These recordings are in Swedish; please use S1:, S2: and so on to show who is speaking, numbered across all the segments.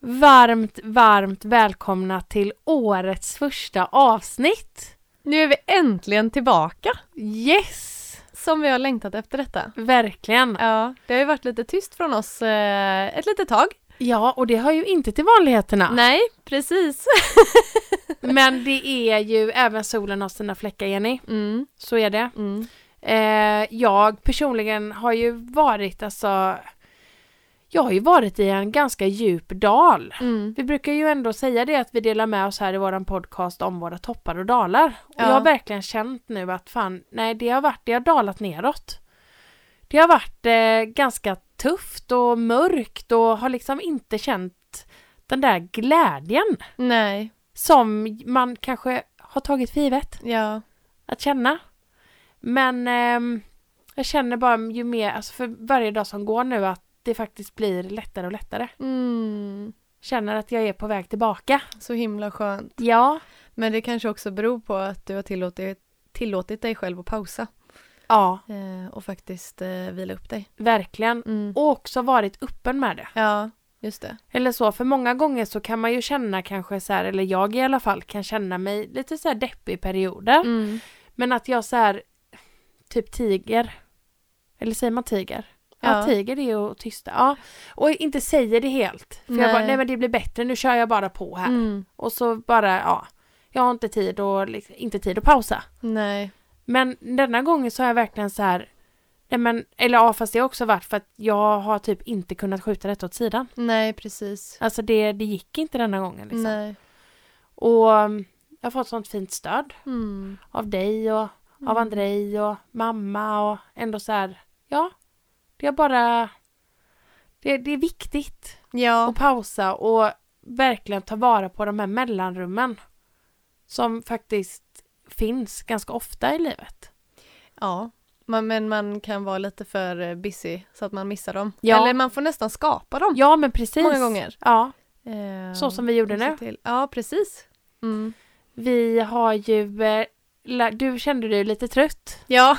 S1: Varmt, varmt välkomna till årets första avsnitt!
S2: Nu är vi äntligen tillbaka
S1: Yes!
S2: som vi har längtat efter detta.
S1: Verkligen!
S2: Ja, det har ju varit lite tyst från oss eh, ett litet tag.
S1: Ja, och det hör ju inte till vanligheterna.
S2: Nej, precis.
S1: Men det är ju, även solen har sina fläckar Jenny.
S2: Mm,
S1: Så är det.
S2: mm.
S1: Eh, jag personligen har ju varit alltså Jag har ju varit i en ganska djup dal.
S2: Mm.
S1: Vi brukar ju ändå säga det att vi delar med oss här i våran podcast om våra toppar och dalar. Och
S2: Ja.
S1: jag har verkligen känt nu att fan, nej det har varit, det har dalat neråt. Det har varit eh, ganska tufft och mörkt och har liksom inte känt den där glädjen
S2: Nej,
S1: som man kanske har tagit för givet
S2: ja.
S1: att känna. Men ehm, jag känner bara ju mer, alltså för varje dag som går nu att det faktiskt blir lättare och lättare.
S2: Mm.
S1: Känner att jag är på väg tillbaka.
S2: Så himla skönt.
S1: Ja.
S2: Men det kanske också beror på att du har tillåtit, tillåtit dig själv att pausa
S1: Ja,
S2: eh, och faktiskt eh, vila upp dig.
S1: verkligen.
S2: Mm.
S1: Och också varit öppen med det.
S2: Ja, just det.
S1: Eller så, för många gånger så kan man ju känna kanske så här, eller jag i alla fall kan känna mig lite så här deppig i perioder.
S2: Mm.
S1: Men att jag så här, typ tiger. Eller säger man tiger? Ja,
S2: Ja.
S1: tiger det är ju att tysta. Ja. Och inte säger det helt. För jag
S2: Nej.
S1: bara, nej men det blir bättre, nu kör jag bara på här.
S2: Mm.
S1: Och så bara, ja. Jag har inte tid, och, liksom, inte tid att pausa.
S2: Nej.
S1: Men denna gången så har jag verkligen så här, nej men, eller ja fast det har också varit för att jag har typ inte kunnat skjuta detta åt sidan.
S2: Nej, precis.
S1: Alltså det, det gick inte denna gången liksom.
S2: Nej.
S1: Och um, jag har fått sånt fint stöd
S2: Mm.
S1: av dig och av Andrej och mamma och ändå så här, ja. Det är bara, det, det är viktigt.
S2: Ja,
S1: och pausa och verkligen ta vara på de här mellanrummen som faktiskt finns ganska ofta i livet.
S2: ja. Man, men man kan vara lite för eh, busy så att man missar dem.
S1: Ja.
S2: Eller man får nästan skapa dem.
S1: Ja, men precis.
S2: Mm. Många gånger.
S1: Ja,
S2: Eh,
S1: så som vi gjorde
S2: se
S1: nu.
S2: till. Ja, precis. Mm.
S1: Vi har ju... eh, lä- Du kände dig lite trött.
S2: Ja,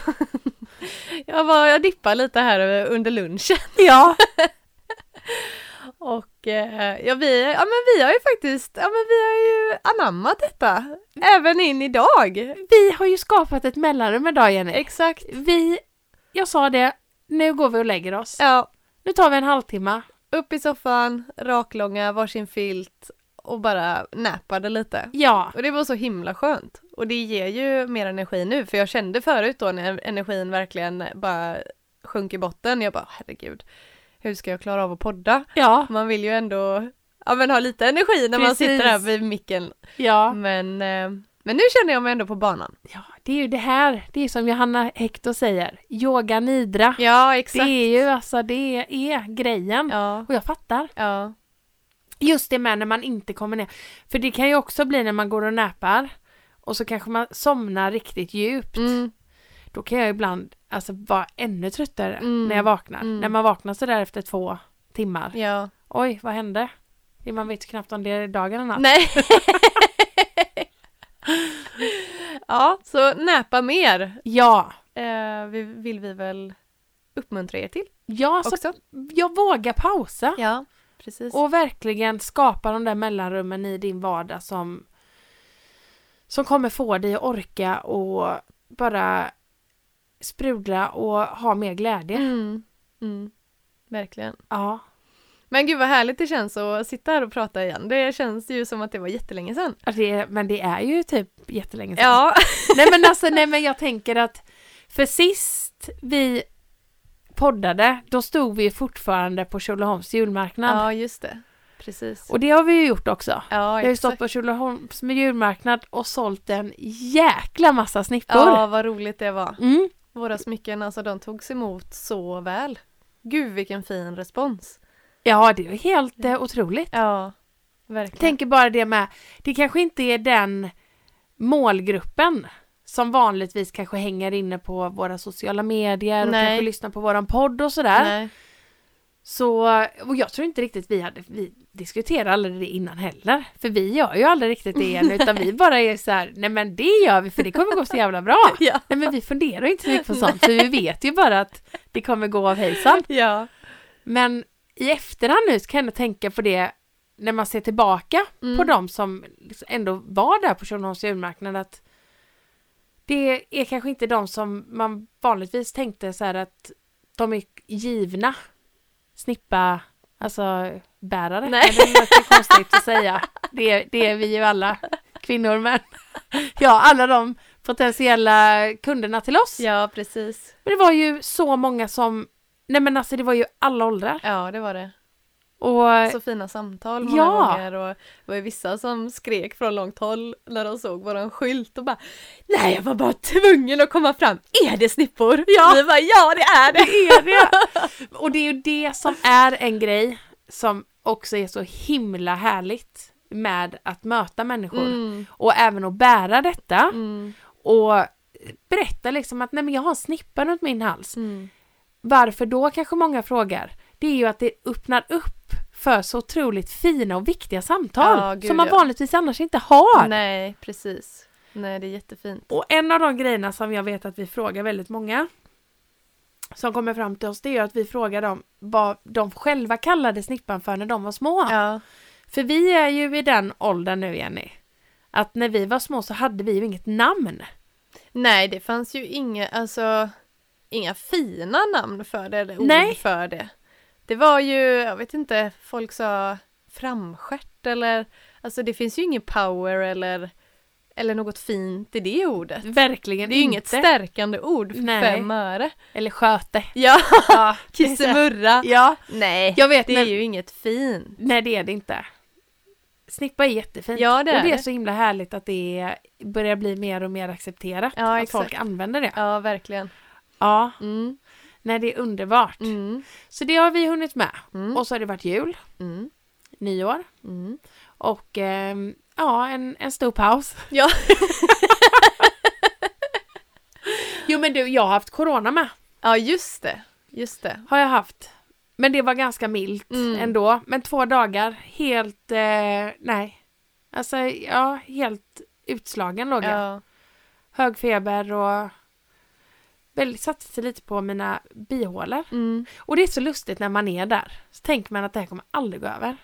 S2: jag, var, jag dippade lite här eh, under lunchen.
S1: Ja.
S2: Och eh, ja, vi, ja, men vi har ju faktiskt, ja men vi har ju anammat
S1: Mm.
S2: detta. Även in idag.
S1: Vi har ju skapat ett mellanrum idag, Jenny.
S2: Exakt.
S1: Vi... Jag sa det, nu går vi och lägger oss.
S2: Ja,
S1: Nu tar vi en halvtimme.
S2: upp i soffan, raklånga, varsin filt och bara näpade lite.
S1: Ja,
S2: Och det var så himla skönt. Och det ger ju mer energi nu, för jag kände förut då när energin verkligen bara sjönk i botten. Jag bara, herregud, hur ska jag klara av att podda?
S1: ja,
S2: Man vill ju ändå ja, men ha lite energi när man
S1: Precis.
S2: sitter här vid micken.
S1: ja.
S2: Men, eh, men nu känner jag mig ändå på banan.
S1: Ja, det är ju det här. Det är som Johanna Hector säger. Yoga nidra.
S2: Ja, exakt.
S1: Det är ju alltså, det är grejen.
S2: Ja,
S1: Och jag fattar.
S2: ja,
S1: Just det med när man inte kommer ner. För det kan ju också bli när man går och näpar och så kanske man somnar riktigt djupt.
S2: mm,
S1: Då kan jag ibland alltså, vara ännu tröttare
S2: Mm.
S1: när jag vaknar.
S2: Mm.
S1: När man vaknar sådär efter två timmar.
S2: ja.
S1: Oj, vad hände? Det- Man vet ju knappt om det är dag eller natt.
S2: Nej. ja, så näpa mer
S1: Ja,
S2: eh, vi- vill vi väl uppmuntra er till
S1: ja så
S2: också.
S1: jag vågar pausa.
S2: Ja, precis.
S1: Och verkligen skapa de där mellanrummen i din vardag som, som kommer få dig att orka och bara sprudla och ha mer glädje.
S2: Mm, mm, verkligen.
S1: Ja,
S2: Men gud vad härligt det känns att sitta här och prata igen. Det känns ju som att det var jättelänge sedan.
S1: och Alltså, det, men det är ju typ jättelänge sedan.
S2: Ja,
S1: Nej men alltså, nej men jag tänker att för sist vi poddade, då stod vi fortfarande på Tjolöholms julmarknad.
S2: ja just det. Precis.
S1: Och det har vi ju gjort också.
S2: ja,
S1: Jag har ju
S2: exakt.
S1: stått på Tjolöholms djurmarknad och sålt en jäkla massa snippor.
S2: Ja, vad roligt det var.
S1: Mm.
S2: Våra smycken, alltså de togs emot så väl. Gud vilken fin respons.
S1: ja, det är ju helt eh, otroligt.
S2: Ja, verkligen.
S1: tänker bara det med, det kanske inte är den målgruppen som vanligtvis kanske hänger inne på våra sociala medier och
S2: Nej.
S1: kanske lyssnar på våran podd och sådär.
S2: Nej.
S1: Så, och jag tror inte riktigt vi hade, vi diskuterade aldrig det innan heller. För vi gör ju aldrig riktigt det igen utan vi bara är så här, nej men det gör vi för det kommer gå så jävla bra.
S2: Ja.
S1: Nej men vi funderar ju inte så mycket på sånt för vi vet ju bara att det kommer gå av hejsan.
S2: Ja.
S1: Men i efterhand nu så kan jag tänka på det när man ser tillbaka
S2: Mm.
S1: på de som liksom ändå var där på Tjörnholms julmarknad att det är kanske inte de som man vanligtvis tänkte så här att de är givna snippa, alltså bärare.
S2: Nej.
S1: Men Det låter konstigt att säga. Det, det är vi ju alla kvinnor men ja, alla de potentiella kunderna till oss.
S2: ja, precis.
S1: Men det var ju så många som, nej men alltså det var ju alla åldrar.
S2: Ja, det var det.
S1: Och
S2: Så fina samtal många
S1: Ja.
S2: gånger och det var ju vissa som skrek från långt håll när de såg våran skylt och bara Nej, jag var bara tvungen att komma fram. Är det snippor? Ja! Vi bara ja, det är det!
S1: det är det. Och det är ju det som är en grej som också är så himla härligt med att möta människor.
S2: Mm.
S1: Och även att bära detta
S2: Mm.
S1: och berätta liksom att nej men jag har en snippa runt min hals.
S2: Mm.
S1: Varför då kanske många frågar. Det är ju att det öppnar upp för så otroligt fina och viktiga samtal
S2: Ja, gud,
S1: som man
S2: ja.
S1: vanligtvis annars inte har.
S2: Nej, precis. Nej, det är jättefint.
S1: Och en av de grejerna som jag vet att vi frågar väldigt många som kommer fram till oss, det är ju att vi frågar dem vad de själva kallade snippan för när de var små.
S2: Ja,
S1: För vi är ju i den åldern nu, Jenny, att när vi var små så hade vi ju inget namn.
S2: Nej, det fanns ju inga, alltså, inga fina namn för det eller ord
S1: Nej.
S2: för det. Det var ju, jag vet inte, folk sa framstjärt eller, alltså det finns ju ingen power eller, eller något fint i det ordet.
S1: Verkligen
S2: Det är ju inget
S1: inte.
S2: stärkande ord för
S1: Nej.
S2: fem öre.
S1: Eller sköte.
S2: Ja,
S1: Ja,
S2: kissemurra.
S1: ja,
S2: Nej,
S1: jag vet.
S2: det
S1: men-
S2: är ju inget fint.
S1: Nej, det är det inte. Snippa är jättefint.
S2: Ja, det
S1: och
S2: är
S1: det är
S2: det.
S1: så himla härligt att det är- börjar bli mer och mer accepterat.
S2: Ja,
S1: att
S2: exakt.
S1: folk använder det.
S2: Ja, verkligen.
S1: Ja,
S2: Mm,
S1: nej det är underbart.
S2: mm,
S1: Så det har vi hunnit med.
S2: mm,
S1: Och så har det varit jul,
S2: mm,
S1: nyår
S2: mm.
S1: och ehm, ja, en, en stor paus.
S2: Ja.
S1: Jo men du, jag har haft corona med.
S2: Ja, just det. Just det.
S1: Har jag haft. Men det var ganska milt
S2: Mm.
S1: ändå. Men två dagar, helt, eh, nej. Alltså, ja, helt utslagen låg jag.
S2: Ja.
S1: Hög feber och väl, satte sig lite på mina bihålor.
S2: Mm.
S1: Och det är så lustigt när man är där. Så tänker man att det här kommer aldrig gå över.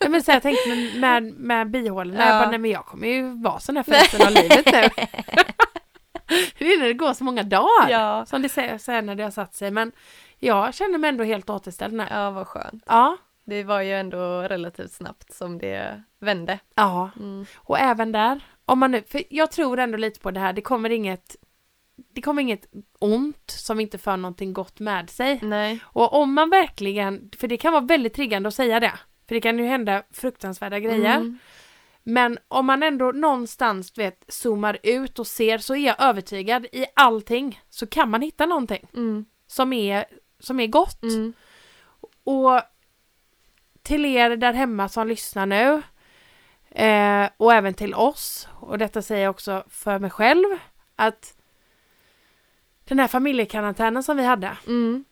S1: Nej, men så här, jag tänkte med, med, med bihålorna,
S2: Ja.
S1: jag bara, nej men jag kommer ju vara sån här för resten av livet nu. det är när det går så många dagar.
S2: Ja.
S1: Som det säger så här när det har satt sig. Men jag känner mig ändå helt återställd nu.
S2: ja, vad skönt.
S1: Ja.
S2: Det var ju ändå relativt snabbt som det vände.
S1: Ja.
S2: Mm.
S1: Och även där, om man nu, för jag tror ändå lite på det här, det kommer inget det kommer inget ont som inte för någonting gott med sig.
S2: Nej.
S1: Och om man verkligen, för det kan vara väldigt triggande att säga det, för det kan ju hända fruktansvärda grejer.
S2: Mm.
S1: Men om man ändå någonstans du vet, zoomar ut och ser så är jag övertygad i allting så kan man hitta någonting
S2: Mm.
S1: som är, som är gott.
S2: Mm.
S1: Och till er där hemma som lyssnar nu eh, och även till oss, och detta säger jag också för mig själv, att den här familjekarantänen som vi hade,
S2: Mm.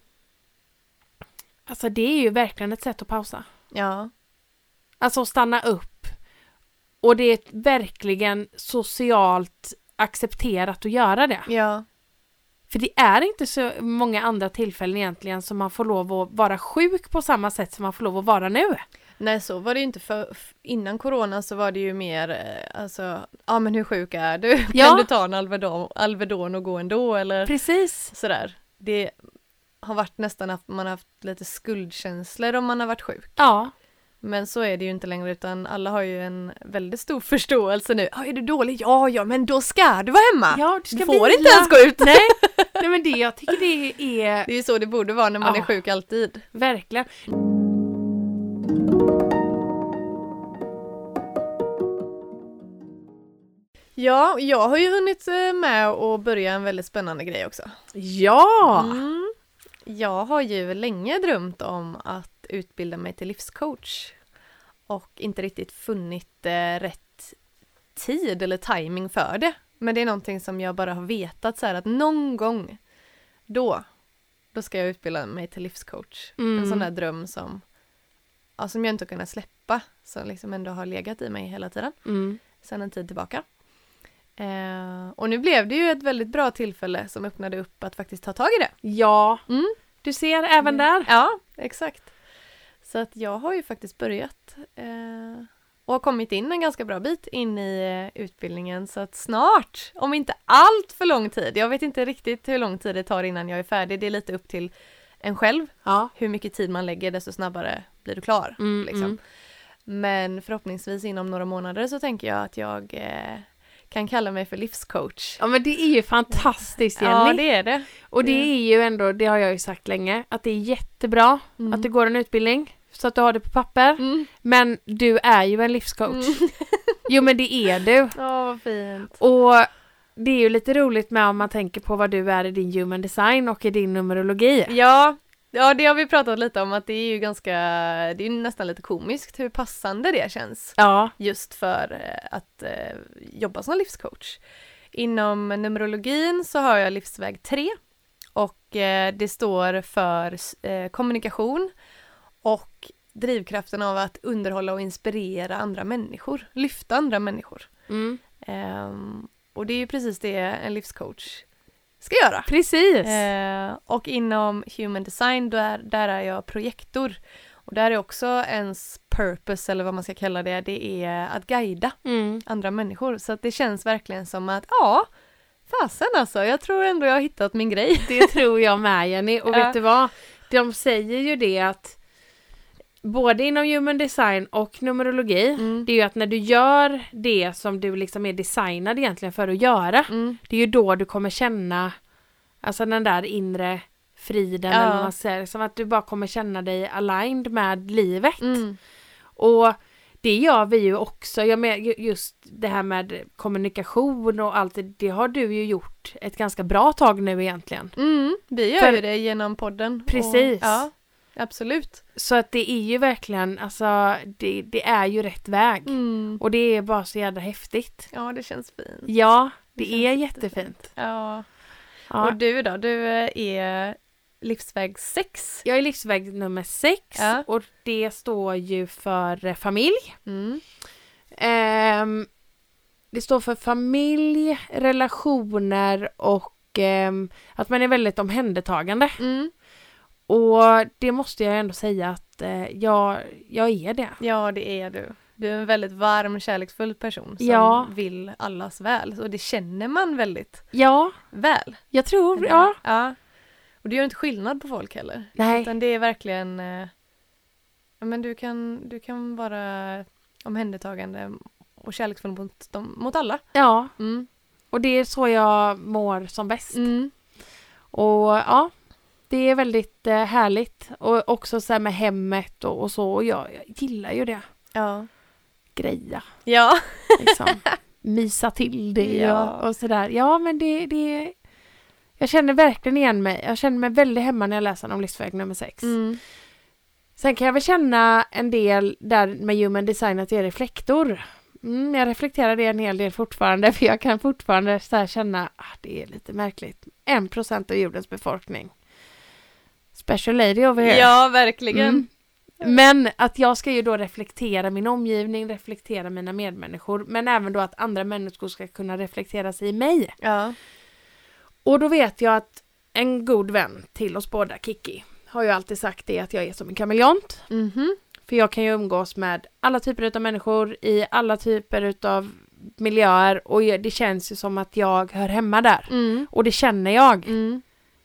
S1: alltså det är ju verkligen ett sätt att pausa.
S2: Ja.
S1: Alltså att stanna upp. Och det är ett verkligen socialt accepterat att göra det.
S2: Ja.
S1: För det är inte så många andra tillfällen egentligen som man får lov att vara sjuk på samma sätt som man får lov att vara nu.
S2: Nej, så var det ju inte för f- innan corona så var det ju mer eh, alltså, ja men hur sjuk är du?
S1: Ja.
S2: Kan du ta en Alvedon, Alvedon och gå ändå eller
S1: Precis.
S2: sådär. Det har varit nästan att man har haft lite skuldkänslor om man har varit sjuk.
S1: Ja.
S2: Men så är det ju inte längre utan alla har ju en väldigt stor förståelse nu. Ja, är du dålig? Ja, ja, men då ska du vara hemma!
S1: ja du
S2: du
S1: ska
S2: får
S1: vila.
S2: inte ens gå ut!
S1: Nej. Nej men det jag tycker det är
S2: Det är ju så det borde vara när man
S1: Ja.
S2: är sjuk alltid.
S1: verkligen.
S2: Ja, jag har ju hunnit eh, med att börja en väldigt spännande grej också.
S1: Ja!
S2: Mm. Jag har ju länge drömt om att utbilda mig till livscoach och inte riktigt funnit eh, rätt tid eller timing för det. Men det är någonting som jag bara har vetat så här att någon gång då, då ska jag utbilda mig till livscoach.
S1: Mm.
S2: En sån där dröm som, ja, som jag inte har kunnat släppa, som liksom ändå har legat i mig hela tiden
S1: Mm.
S2: sedan en tid tillbaka. Eh, och nu blev det ju ett väldigt bra tillfälle som öppnade upp att faktiskt ta tag i det.
S1: Ja, Mm.
S2: Mm.
S1: du ser även där.
S2: Ja, exakt. Så att jag har ju faktiskt börjat eh, och har kommit in en ganska bra bit in i eh, utbildningen så att snart, om inte allt för lång tid, jag vet inte riktigt hur lång tid det tar innan jag är färdig, det är lite upp till en själv,
S1: Ja.
S2: hur mycket tid man lägger desto snabbare blir du klar.
S1: Mm,
S2: liksom.
S1: mm.
S2: Men förhoppningsvis inom några månader så tänker jag att jag eh, kan kalla mig för livscoach.
S1: ja, men det är ju fantastiskt Jenny.
S2: Ja, det är det.
S1: Och det är ju ändå, det har jag ju sagt länge, att det är jättebra
S2: Mm.
S1: att du går en utbildning så att du har det på papper.
S2: Mm.
S1: Men du är ju en livscoach. Jo men det är du.
S2: Ja, vad fint.
S1: Och det är ju lite roligt med om man tänker på vad du är i din human design och i din numerologi.
S2: Ja, ja, det har vi pratat lite om att det är ju ganska, det är ju nästan lite komiskt hur passande det känns.
S1: Ja.
S2: just för eh, att eh, jobba som livscoach. Inom Numerologin så har jag livsväg 3 och eh, det står för s- eh, kommunikation och drivkraften av att underhålla och inspirera andra människor, lyfta andra människor.
S1: Mm.
S2: Ehm, och det är ju precis det en livscoach ska göra.
S1: Precis.
S2: Eh, och inom human design, då är, där är jag projektor. Och där är också ens purpose, eller vad man ska kalla det, det är att guida
S1: Mm.
S2: andra människor. Så att det känns verkligen som att, ja, fasen alltså, jag tror ändå jag har hittat min grej.
S1: Det tror jag med Jenny. Och
S2: Ja.
S1: vet du vad? De säger ju det att både inom human design och numerologi
S2: Mm.
S1: det är ju att när du gör det som du liksom är designad egentligen för att göra
S2: Mm.
S1: det är ju då du kommer känna alltså den där inre friden
S2: Ja.
S1: eller vad man säger, som att du bara kommer känna dig aligned med livet.
S2: Mm.
S1: Och det gör vi ju också, jag menar ju- just det här med kommunikation och allt det, det har du ju gjort ett ganska bra tag nu egentligen.
S2: Mm. Vi gör
S1: För-
S2: ju det genom podden.
S1: Precis.
S2: Och, ja, absolut.
S1: Så att det är ju verkligen, alltså det, det är ju rätt väg.
S2: Mm.
S1: Och det är bara så jävla häftigt.
S2: Ja, det känns fint.
S1: Ja, det,
S2: Det
S1: är
S2: känns
S1: jättefint.
S2: Ja.
S1: Ja.
S2: Och du då, du eh, är livsväg 6.
S1: Jag är livsväg nummer sex
S2: Ja.
S1: och det står ju för eh, familj.
S2: Mm.
S1: Ehm, det står för familj, relationer och ehm, att man är väldigt omhändertagande.
S2: Mm.
S1: Och det måste jag ändå säga att eh, jag, jag är det.
S2: Ja, det är du. Du är en väldigt varm, kärleksfull person som
S1: Ja.
S2: vill allas väl. Och det känner man väldigt
S1: Ja,
S2: väl.
S1: jag tror, ja.
S2: ja. Och du gör inte skillnad på folk heller.
S1: Nej,
S2: Utan det är verkligen... eh, Ja, men du kan, du kan vara omhändertagande och kärleksfull mot, dem, mot alla.
S1: ja.
S2: Mm.
S1: Och det är så jag mår som bäst.
S2: Mm.
S1: Och ja, det är väldigt eh, härligt. Och också så här med hemmet och, och så. Och jag, jag gillar ju det.
S2: Ja.
S1: Greja.
S2: Ja.
S1: liksom, mysa till det
S2: Ja.
S1: och, och sådär. Ja, men det, det... Jag känner verkligen igen mig. Jag känner mig väldigt hemma när jag läser om livsväg nummer sex.
S2: Mm.
S1: Sen kan jag väl känna en del där med human design att det är reflektor. Mm, jag reflekterar det en hel del fortfarande för jag kan fortfarande så här känna att ah, det är lite märkligt. En procent av jordens befolkning. Special lady over here.
S2: ja, verkligen.
S1: Mm. Men att jag ska ju då reflektera min omgivning, reflektera mina medmänniskor, men även då att andra människor ska kunna reflektera sig i mig.
S2: Ja.
S1: Och då vet jag att en god vän till oss båda, Kiki, har ju alltid sagt det att jag är som en kameleont.
S2: Mhm.
S1: För jag kan ju umgås med alla typer utav människor i alla typer utav miljöer och jag- det känns ju som att jag hör hemma där.
S2: Mm.
S1: Och det känner jag.
S2: Mm.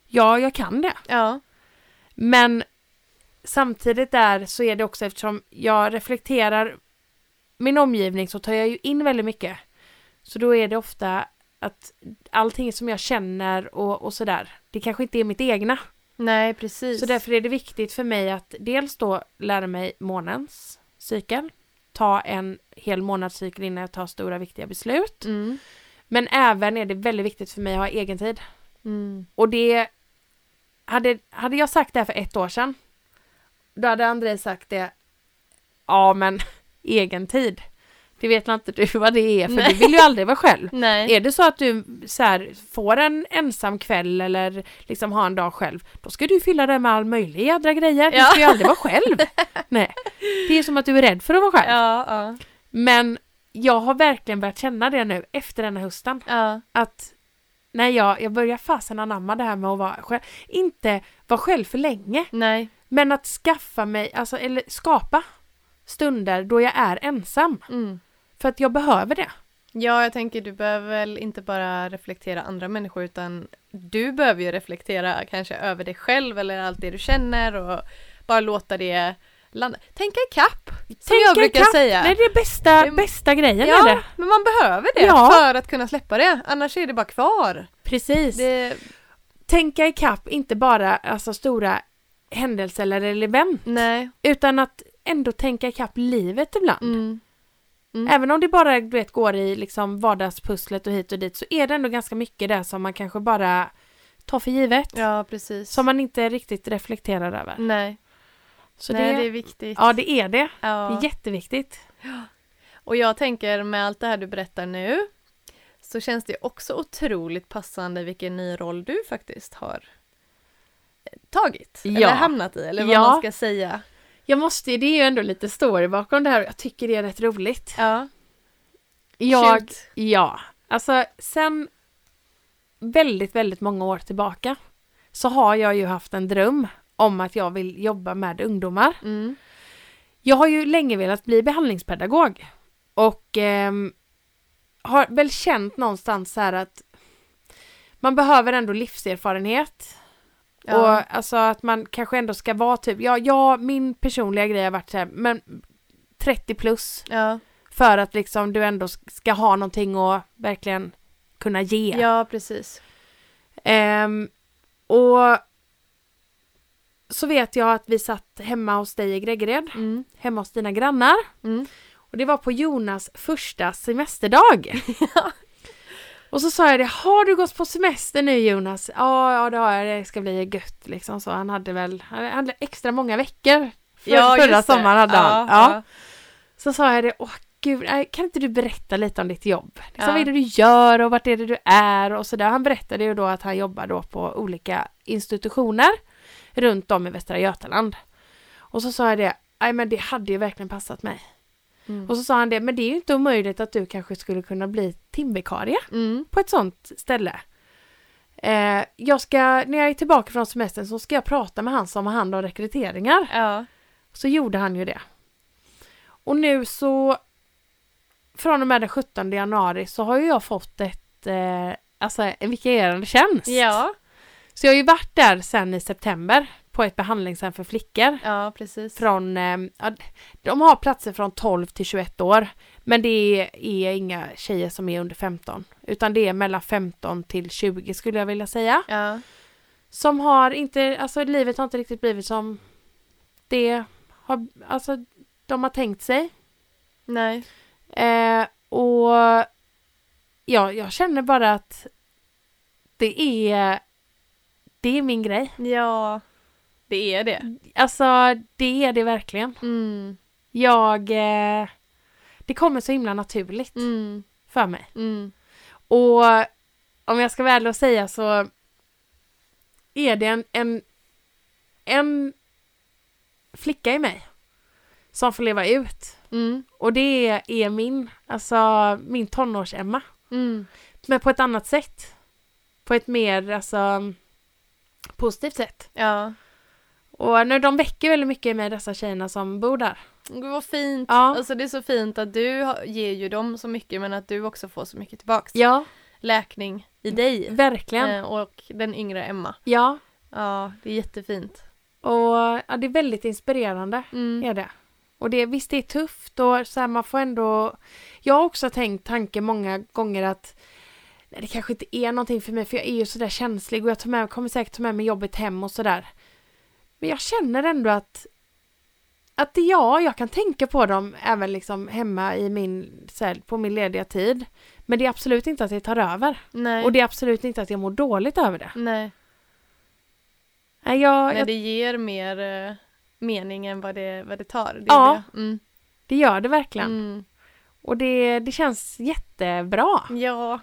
S1: Ja, jag kan det.
S2: Ja.
S1: Men samtidigt där så är det också eftersom jag reflekterar min omgivning så tar jag ju in väldigt mycket. Så då är det ofta att allting som jag känner och, och sådär, det kanske inte är mitt egna.
S2: Nej, precis.
S1: Så därför är det viktigt för mig att dels då lära mig månens cykel, ta en hel månadscykel innan jag tar stora viktiga beslut.
S2: Mm.
S1: Men även är det väldigt viktigt för mig att ha egen tid.
S2: Mm.
S1: Och det... Hade, hade jag sagt det här för ett år sedan, då hade André sagt det, ja men egen tid. Det vet väl inte du vad det är, för
S2: Nej.
S1: du vill ju aldrig vara själv.
S2: Nej.
S1: Är det så att du så här, får en ensam kväll eller liksom har en dag själv, då ska du fylla det med all möjlig jädra grejer. Du
S2: Ja.
S1: ska ju aldrig vara själv. Nej. Det är som att du är rädd för att vara själv.
S2: Ja, ja,
S1: Men jag har verkligen börjat känna det nu efter den här hösten.
S2: ja.
S1: Att nej, jag, jag börjar fasen anamma det här med att vara själv. Inte vara själv för länge,
S2: Nej.
S1: men att skaffa mig, alltså, eller skapa stunder då jag är ensam.
S2: Mm.
S1: För att jag behöver det.
S2: Ja, jag tänker du behöver väl inte bara reflektera andra människor utan du behöver ju reflektera kanske över dig själv eller allt det du känner och bara låta det landa. Tänka ikapp, som
S1: Tänka
S2: jag brukar
S1: ikapp.
S2: säga.
S1: Nej, det är bästa,
S2: Det-
S1: bästa grejen
S2: ja,
S1: är det.
S2: men man behöver det
S1: Ja.
S2: för att kunna släppa det, annars är det bara kvar.
S1: Precis.
S2: Det,
S1: Tänka ikapp, inte bara alltså, stora händelser eller event,
S2: nej.
S1: utan att ändå tänka ikapp livet ibland.
S2: Mm.
S1: Även om det bara du vet, går i liksom vardagspusslet och hit och dit så är det ändå ganska mycket där som man kanske bara tar för givet.
S2: Ja, precis.
S1: Som man inte riktigt reflekterar över.
S2: Nej,
S1: Så
S2: nej
S1: Mm. det,
S2: det är viktigt.
S1: Ja, det är det. Det
S2: Ja.
S1: är jätteviktigt.
S2: Och jag tänker med allt det här du berättar nu så känns det också otroligt passande vilken ny roll du faktiskt har eh, tagit eller
S1: Ja.
S2: hamnat i eller vad
S1: Ja.
S2: man ska säga.
S1: Jag måste, det är ju ändå lite story bakom det här och jag tycker det är rätt roligt.
S2: Ja,
S1: Jag,
S2: Shoot.
S1: Ja, alltså sen väldigt, väldigt många år tillbaka så har jag ju haft en dröm om att jag vill jobba med ungdomar.
S2: Mm.
S1: Jag har ju länge velat bli behandlingspedagog och ehm, har väl känt någonstans så här att man behöver ändå livserfarenhet
S2: Ja.
S1: och alltså att man kanske ändå ska vara typ, ja, ja min personliga grej har varit så här, men 30 plus
S2: ja.
S1: för att liksom du ändå ska ha någonting att verkligen kunna ge.
S2: ja, precis.
S1: Ehm, och så vet jag att vi satt hemma hos dig i Gregered,
S2: Mm.
S1: hemma hos dina grannar.
S2: Mm.
S1: Och det var på Jonas första semesterdag. Och så sa jag det, har du gått på semester nu Jonas? Ja, ja det har jag, det ska bli gött liksom. Så han hade väl, han hade extra många veckor. För, förra
S2: just det.
S1: sommaren hade han. Ja.
S2: Ja,
S1: Så sa jag det, åh gud, nej, kan inte du berätta lite om ditt jobb? Liksom,
S2: Ja.
S1: Vad är det du gör och vart är det du är och sådär. Han berättade ju då att han jobbar då på olika institutioner runt om i Västra Götaland. Och så sa jag det, nej men det hade ju verkligen passat mig.
S2: Mm.
S1: Och så sa han det, men det är ju inte omöjligt att du kanske skulle kunna bli timvikarie
S2: ja. Mm.
S1: på ett sånt ställe. Eh, jag ska, när jag är tillbaka från semestern så ska jag prata med han som har hand om rekryteringar.
S2: ja.
S1: Så gjorde han ju det. Och nu så från och med den 17 januari så har ju jag fått ett eh, alltså en vikarierande tjänst.
S2: ja.
S1: Så jag har ju varit där sen i september på ett behandlingshem för flickor.
S2: ja precis.
S1: Från, eh, ja, de har platser från 12 till 21 år. Men det är inga tjejer som är under 15. Utan det är mellan 15 till 20 skulle jag vilja säga.
S2: Ja.
S1: Som har inte, alltså livet har inte riktigt blivit som det har, alltså de har tänkt sig.
S2: Nej.
S1: Eh, och ja, jag känner bara att det är, det är min grej.
S2: Ja. Det är det.
S1: Alltså det är det verkligen.
S2: Mm.
S1: Jag, eh, det kommer så himla naturligt
S2: Mm.
S1: för mig.
S2: Mm.
S1: Och om jag ska vara ärlig och säga så är det en, en, en flicka i mig som får leva ut.
S2: Mm.
S1: Och det är min, alltså min tonårs-Emma.
S2: Mm.
S1: Men på ett annat sätt. På ett mer alltså positivt sätt.
S2: Ja.
S1: Och nu, de väcker väldigt mycket i mig dessa tjejerna som bor där.
S2: Gud vad fint.
S1: Ja.
S2: Alltså det är så fint att du har- ger ju dem så mycket men att du också får så mycket tillbaks.
S1: Ja,
S2: Läkning i dig.
S1: verkligen.
S2: Eh, och den yngre Emma.
S1: Ja,
S2: Ja, det är jättefint.
S1: och ja, det är väldigt inspirerande.
S2: Mm.
S1: är det. Och det, visst det är tufft och så här, man får ändå... Jag har också tänkt tanken många gånger att nej, det kanske inte är någonting för mig för jag är ju sådär känslig och jag tar med, kommer säkert ta med mig jobbet hem och sådär. Men jag känner ändå att att det- ja, jag kan tänka på dem även liksom hemma i min, så här, på min lediga tid. Men det är absolut inte att jag tar över.
S2: Nej.
S1: Och det är absolut inte att jag mår dåligt över det.
S2: Nej.
S1: Nej, jag,
S2: Nej,
S1: jag,
S2: det ger mer eh, mening än vad det, vad det tar. Det
S1: Ja,
S2: gör det. Mm.
S1: det gör det verkligen.
S2: Mm.
S1: Och det, det känns jättebra.
S2: Ja.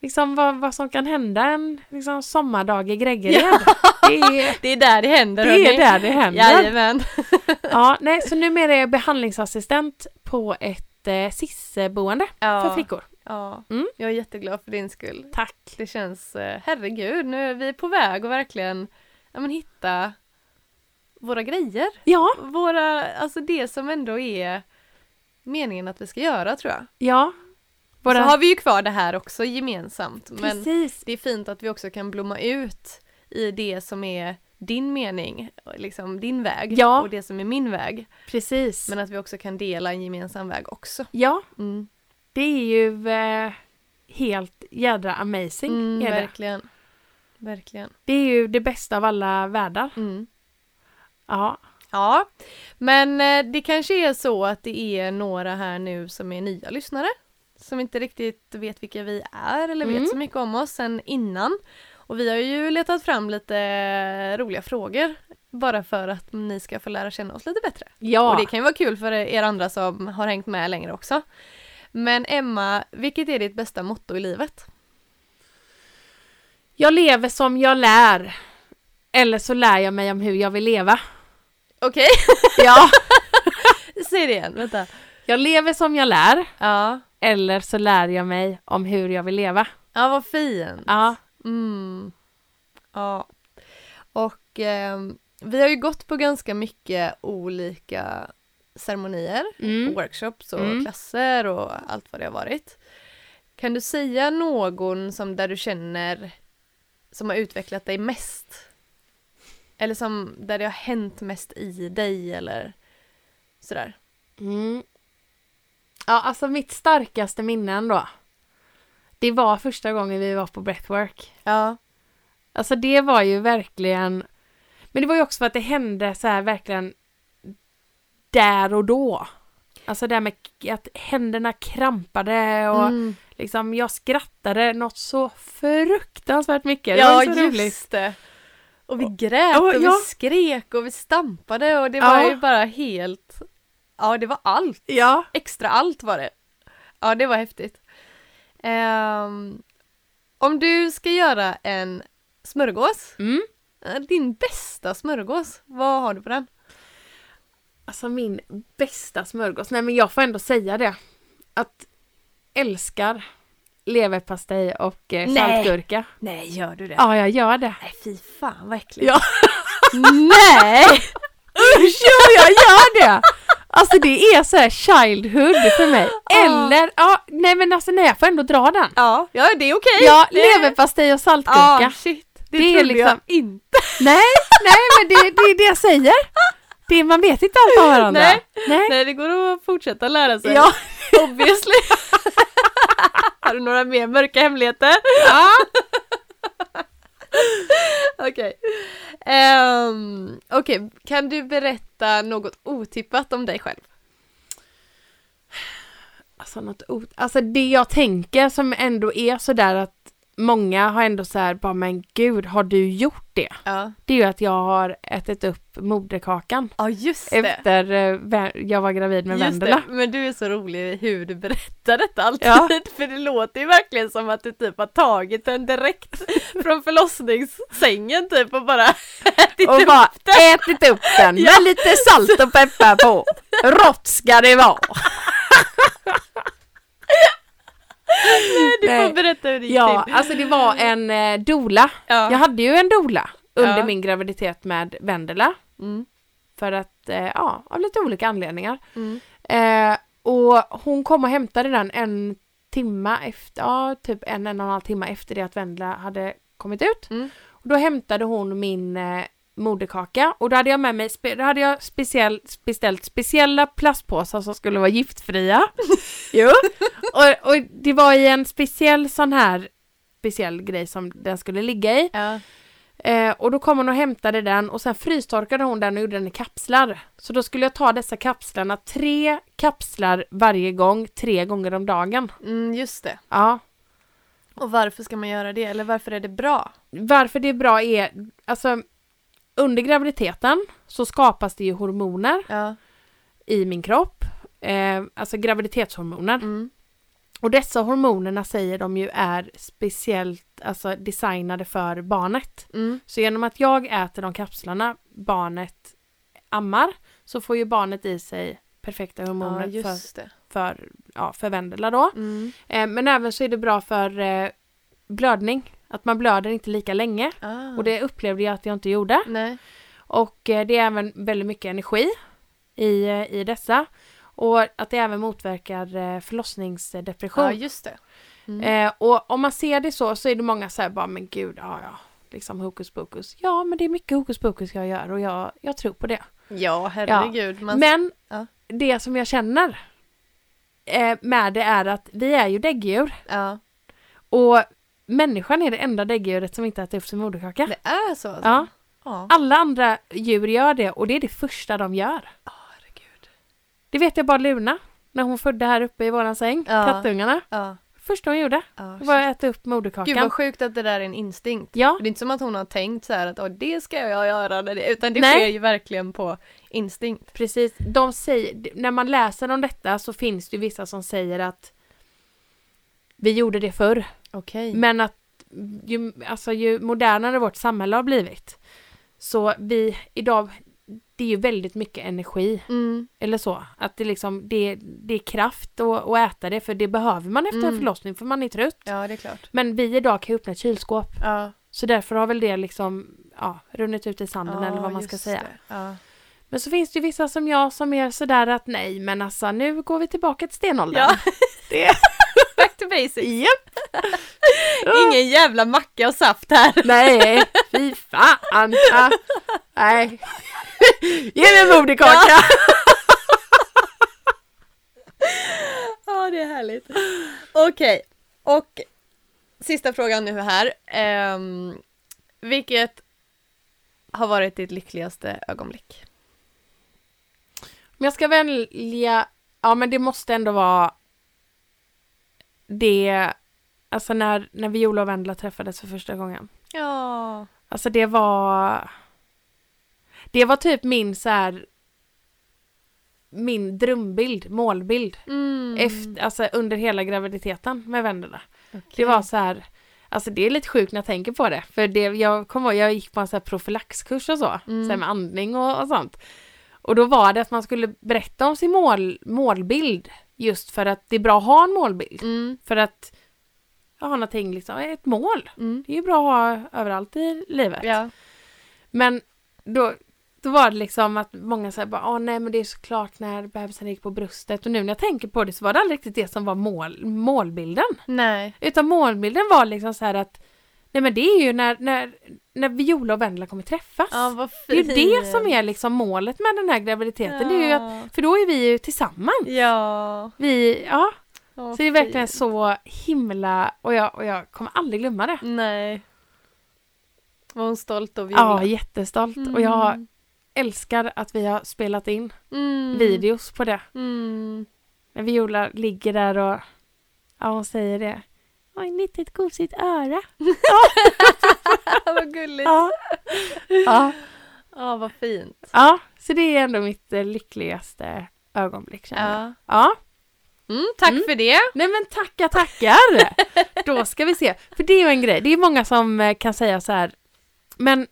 S1: Liksom vad, vad som kan hända en liksom, sommardag i Greggered. Det, är,
S2: Det är där det händer.
S1: det är
S2: hörni.
S1: där det händer.
S2: Jajamän.
S1: Ja, nej, så numera är jag behandlingsassistent på ett eh, SIS-boende
S2: Ja.
S1: för flickor.
S2: Ja.
S1: Mm.
S2: Jag är jätteglad för din skull.
S1: Tack.
S2: Det känns, eh, herregud, nu är vi på väg att verkligen ja, men hitta våra grejer.
S1: Ja,
S2: Våra, alltså det som ändå är meningen att vi ska göra tror jag.
S1: ja. Våra,
S2: Så har vi ju kvar det här också gemensamt. Men
S1: precis.
S2: det är fint att vi också kan blomma ut i det som är din mening, liksom din väg
S1: Ja.
S2: och det som är min väg.
S1: Precis.
S2: Men att vi också kan dela en gemensam väg också.
S1: ja,
S2: Mm.
S1: det är ju eh, helt jädra amazing.
S2: Mm,
S1: är det.
S2: verkligen. Verkligen.
S1: det är ju det bästa av alla världar.
S2: Mm.
S1: Ja,
S2: Ja, men eh, det kanske är så att det är några här nu som är nya lyssnare som inte riktigt vet vilka vi är eller
S1: Mm.
S2: vet så mycket om oss sen innan. Och vi har ju letat fram lite roliga frågor bara för att ni ska få lära känna oss lite bättre.
S1: ja.
S2: Och det kan ju vara kul för er andra som har hängt med längre också. Men Emma, vilket är ditt bästa motto i livet?
S1: jag lever som jag lär. Eller så lär jag mig om hur jag vill leva.
S2: Okej,
S1: Ja.
S2: säg det igen, vänta.
S1: Jag lever som jag lär.
S2: Ja,
S1: Eller så lär jag mig om hur jag vill leva.
S2: ja vad fint.
S1: Ja,
S2: Mm. Ja. Och ehm, vi har ju gått på ganska mycket olika ceremonier,
S1: mm.
S2: workshops och
S1: Mm.
S2: klasser och allt vad det har varit. Kan du säga någon som där du känner som har utvecklat dig mest? Eller som där det har hänt mest i dig eller sådär?
S1: Mm. ja alltså mitt starkaste minne ändå. Det var första gången vi var på breathwork.
S2: Ja.
S1: Alltså det var ju verkligen... Men det var ju också för att det hände så här verkligen där och då. Alltså det här med k- att händerna krampade och
S2: Mm.
S1: liksom jag skrattade något så fruktansvärt mycket. Det
S2: Ja,
S1: var ju så
S2: just
S1: roligt.
S2: det. Och vi grät
S1: Ja,
S2: och vi
S1: ja.
S2: skrek och vi stampade och det
S1: Ja.
S2: var ju bara helt... Ja, det var allt.
S1: Ja.
S2: Extra allt var det. Ja, det var häftigt. Ehm, om du ska göra en smörgås,
S1: Mm.
S2: eh, din bästa smörgås, vad har du på den?
S1: Alltså min bästa smörgås. Nej men jag får ändå säga det. Att älskar leverpastej och eh,
S2: Nej.
S1: saltgurka.
S2: Nej, gör du det?
S1: Ja, jag gör det.
S2: Nej, fy fan vad äckligt.
S1: Ja.
S2: Nej!
S1: Usch, ja, jag gör det! Alltså det är så här childhood för mig. Eller, ja, nej men alltså nej, jag får ändå dra den.
S2: Ja, ja det är okej.
S1: Ja,
S2: Det-
S1: leverpastej och saltgurka.
S2: Ja, shit. Det,
S1: Det är
S2: trodde jag
S1: liksom-
S2: inte.
S1: Nej, nej men det, det är det jag säger. Det, man vet inte allt om varandra.
S2: Nej.
S1: nej.
S2: Nej, det går att fortsätta lära sig.
S1: Ja.
S2: Obviously. Har du några mer mörka hemligheter?
S1: ja.
S2: Okej. Ehm, Okej, kan du berätta något otippat om dig själv?
S1: Alltså något ot- Alltså det jag tänker som ändå är sådär att många har ändå så här bara men gud har du gjort det?
S2: Ja,
S1: Det är ju att jag har ätit upp moderkakan
S2: ja just det.
S1: efter eh, vä- jag var gravid med
S2: Just
S1: Vendela.
S2: det. Men du är så rolig i hur du berättar detta alltid.
S1: Ja.
S2: För det låter ju verkligen som att du typ har tagit den direkt från förlossningssängen typ och bara ätit
S1: Och
S2: upp
S1: bara ätit upp den
S2: Ja.
S1: med lite salt och peppar på. Rått ska det vara!
S2: Du
S1: Nej.
S2: får berätta hur det gick
S1: Ja,
S2: till.
S1: alltså det var en eh, dola.
S2: Ja.
S1: Jag hade ju en dola under
S2: Ja.
S1: min graviditet med Vendela.
S2: Mm.
S1: För att, eh, ja, av lite olika anledningar.
S2: Mm.
S1: Eh, och hon kom och hämtade den en timma efter, ja typ en, en och en halv timma efter det att Vendela hade kommit ut.
S2: Mm.
S1: Och då hämtade hon min eh, moderkaka och då hade jag med mig, spe, då hade jag speciell, beställt speciella plastpåsar som skulle vara giftfria. jo. Och, och det var i en speciell sån här speciell grej som den skulle ligga i.
S2: Ja.
S1: Eh, och då kom hon och hämtade den och sen frystorkade hon den och gjorde den i kapslar. Så då skulle jag ta dessa kapslarna, tre kapslar varje gång, tre gånger om dagen.
S2: Mm, just det.
S1: Ja.
S2: Och varför ska man göra det? Eller varför är det bra?
S1: Varför det är bra är, alltså under graviditeten så skapas det ju hormoner
S2: Ja.
S1: i min kropp. Eh, alltså graviditetshormoner.
S2: Mm.
S1: Och dessa hormonerna säger de ju är speciellt alltså, designade för barnet.
S2: Mm.
S1: Så genom att jag äter de kapslarna barnet ammar så får ju barnet i sig perfekta
S2: Ja,
S1: hormoner för,
S2: just det.
S1: för, ja, för Vendela då.
S2: Mm.
S1: Eh, men även så är det bra för eh, blödning. Att man blöder inte lika länge.
S2: Ah.
S1: Och det upplevde jag att jag inte gjorde.
S2: Nej.
S1: Och eh, det är även väldigt mycket energi i, eh, i dessa. Och att det även motverkar eh, förlossningsdepression.
S2: Ja, just det. Mm.
S1: Eh, och om man ser det så, så är det många så här bara, men gud, ja, ja, liksom hokus pokus. Ja, men det är mycket hokus pokus jag gör och jag, jag tror på det.
S2: Ja, herregud. Man...
S1: men
S2: ja.
S1: det som jag känner eh, med det är att vi är ju däggdjur
S2: Ja.
S1: och människan är det enda däggdjuret som inte äter upp sin moderkaka.
S2: Det är så alltså?
S1: Ja.
S2: Ja.
S1: Alla andra djur gör det och det är det första de gör.
S2: herregud.
S1: Det vet jag bara Luna, när hon födde här uppe i våran säng,
S2: Ja.
S1: kattungarna.
S2: Ja.
S1: Första hon gjorde
S2: ja.
S1: var att äta upp moderkakan.
S2: Gud vad sjukt att det där är en instinkt.
S1: Ja.
S2: Det är inte som att hon har tänkt så här att "Åh, det ska jag göra, när det-" utan det
S1: Nej.
S2: sker ju verkligen på instinkt.
S1: Precis, de säger, d- när man läser om detta så finns det ju vissa som säger att vi gjorde det förr,
S2: Okej.
S1: men att ju, alltså, ju modernare vårt samhälle har blivit så vi idag, det är ju väldigt mycket energi
S2: Mm.
S1: eller så, att det liksom, det, det är kraft att, att äta det för det behöver man efter en
S2: Mm.
S1: förlossning för man är trött.
S2: Ja, det är klart.
S1: Men vi idag kan ju öppna ett kylskåp
S2: Ja,
S1: så därför har väl det liksom, ja, runnit ut i sanden
S2: ja,
S1: eller vad man ska
S2: just
S1: säga.
S2: det. Ja.
S1: Men så finns det ju vissa som jag som är sådär att nej men alltså nu går vi tillbaka till stenåldern.
S2: Ja.
S1: det.
S2: Back to basics.
S1: Japp.
S2: Ingen jävla macka och saft här.
S1: Nej, fy fan. Ja. Nej. Ge mig en moderkaka.
S2: Ja, det är härligt. Okej, och sista frågan nu här. Ehm, vilket har varit ditt lyckligaste ögonblick?
S1: Men jag ska välja, ja men det måste ändå vara det, alltså när, när Viola och Vendela träffades för första gången.
S2: Ja.
S1: Alltså det var Det var typ min så här min drömbild, målbild
S2: Mm.
S1: efter, alltså under hela graviditeten med vännerna.
S2: Okej.
S1: Det var så här Alltså det är lite sjukt när jag tänker på det. För det, jag kommer ihåg, jag gick på en så här profylaxkurs och så,
S2: Mm.
S1: så här med andning och, och sånt. Och då var det att man skulle berätta om sin mål, målbild just för att det är bra att ha en målbild.
S2: Mm.
S1: För att ha någonting, liksom, ett mål.
S2: Mm.
S1: Det är ju bra att ha överallt i livet.
S2: Ja.
S1: Men då, då var det liksom att många sa bara, ah, nej men det är såklart när bebisen gick på bröstet och nu när jag tänker på det så var det aldrig riktigt det som var mål, målbilden.
S2: Nej.
S1: Utan målbilden var liksom så här att, nej men det är ju när, när, när Viola och Vendela kommer träffas.
S2: Ja, vad
S1: det är
S2: fint.
S1: ju det som är liksom målet med den här graviditeten. Det är ju att, för då är vi ju tillsammans.
S2: Ja.
S1: Vi, ja,
S2: Ja,
S1: så det är verkligen
S2: fint.
S1: så himla, och jag, och jag kommer aldrig glömma det.
S2: Nej. Var hon stolt och
S1: Ja, jättestolt. Och jag
S2: Mm.
S1: älskar att vi har spelat in
S2: Mm.
S1: videos på det.
S2: Mm.
S1: När Viola ligger där och ja, hon säger det. Oj, litet gosigt öra.
S2: vad gulligt. Ja,
S1: Ja. ja.
S2: vad fint.
S1: ja, så det är ändå mitt eh, lyckligaste ögonblick känner jag.
S2: Ja.
S1: Ja.
S2: Mm, tack
S1: Mm.
S2: för det.
S1: Nej men tacka tackar! Då ska vi se. För det är ju en grej, det är många som eh, kan säga så här. Men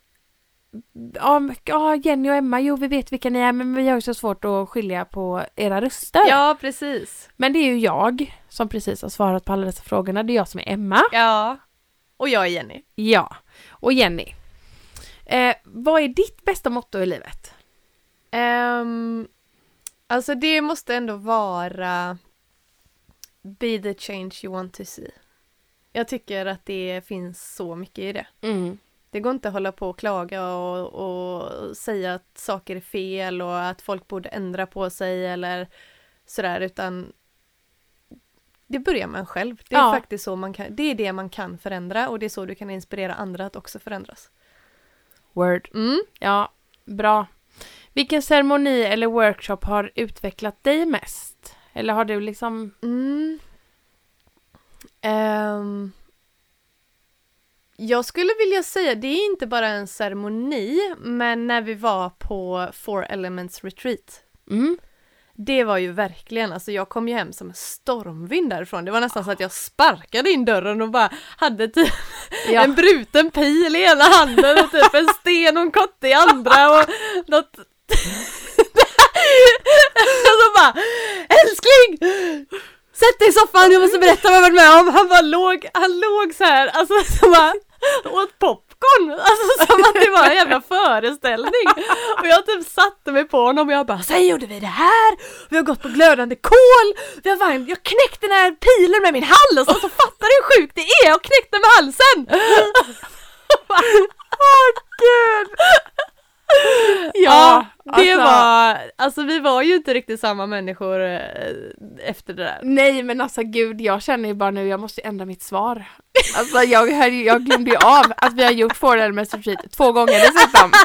S1: ja, men- ja, Jenny och Emma, jo vi vet vilka ni är men vi har ju så svårt att skilja på era röster.
S2: Ja, precis.
S1: Men det är ju jag som precis har svarat på alla dessa frågorna, det är jag som är Emma.
S2: Ja. Och jag är Jenny.
S1: Ja, och Jenny. Eh, vad är ditt bästa motto i livet?
S2: Ehm, alltså det måste ändå vara Be the change you want to see. Jag tycker att det finns så mycket i det.
S1: Mm.
S2: Det går inte att hålla på och klaga och, och säga att saker är fel och att folk borde ändra på sig eller sådär utan det börjar man själv. Det är
S1: Ja.
S2: faktiskt så man kan, det är det man kan förändra och det är så du kan inspirera andra att också förändras.
S1: Word.
S2: Mm.
S1: Ja, bra. Vilken ceremoni eller workshop har utvecklat dig mest? Eller har du liksom...
S2: Mm. Ehm, jag skulle vilja säga, det är inte bara en ceremoni, men när vi var på Four Elements Retreat.
S1: Mm.
S2: Det var ju verkligen, alltså jag kom ju hem som en stormvind därifrån. Det var nästan så att jag sparkade in dörren och bara hade typ
S1: Ja.
S2: en bruten pil i ena handen och typ en sten och en kotte i andra och något... och så bara Älskling! Sätt dig i soffan, jag måste berätta vad jag varit med om. Han bara låg, han låg så här, alltså som han åt popcorn. Alltså som att det var en jävla föreställning. Och jag typ satte mig på honom och jag bara, sen gjorde vi det här, vi har gått på glödande kol, vi har varmt, jag knäckte den här pilen med min hals, alltså fattar du hur sjukt det är? Jag knäckte den med halsen! Åh gud! Ja, det
S1: alltså-
S2: var, alltså vi var ju inte riktigt samma människor eh, efter det där.
S1: Nej men alltså gud, jag känner ju bara nu, jag måste ändra mitt svar. Alltså jag, hör ju- jag glömde ju av att vi har gjort Four Elements Retreat två gånger dessutom.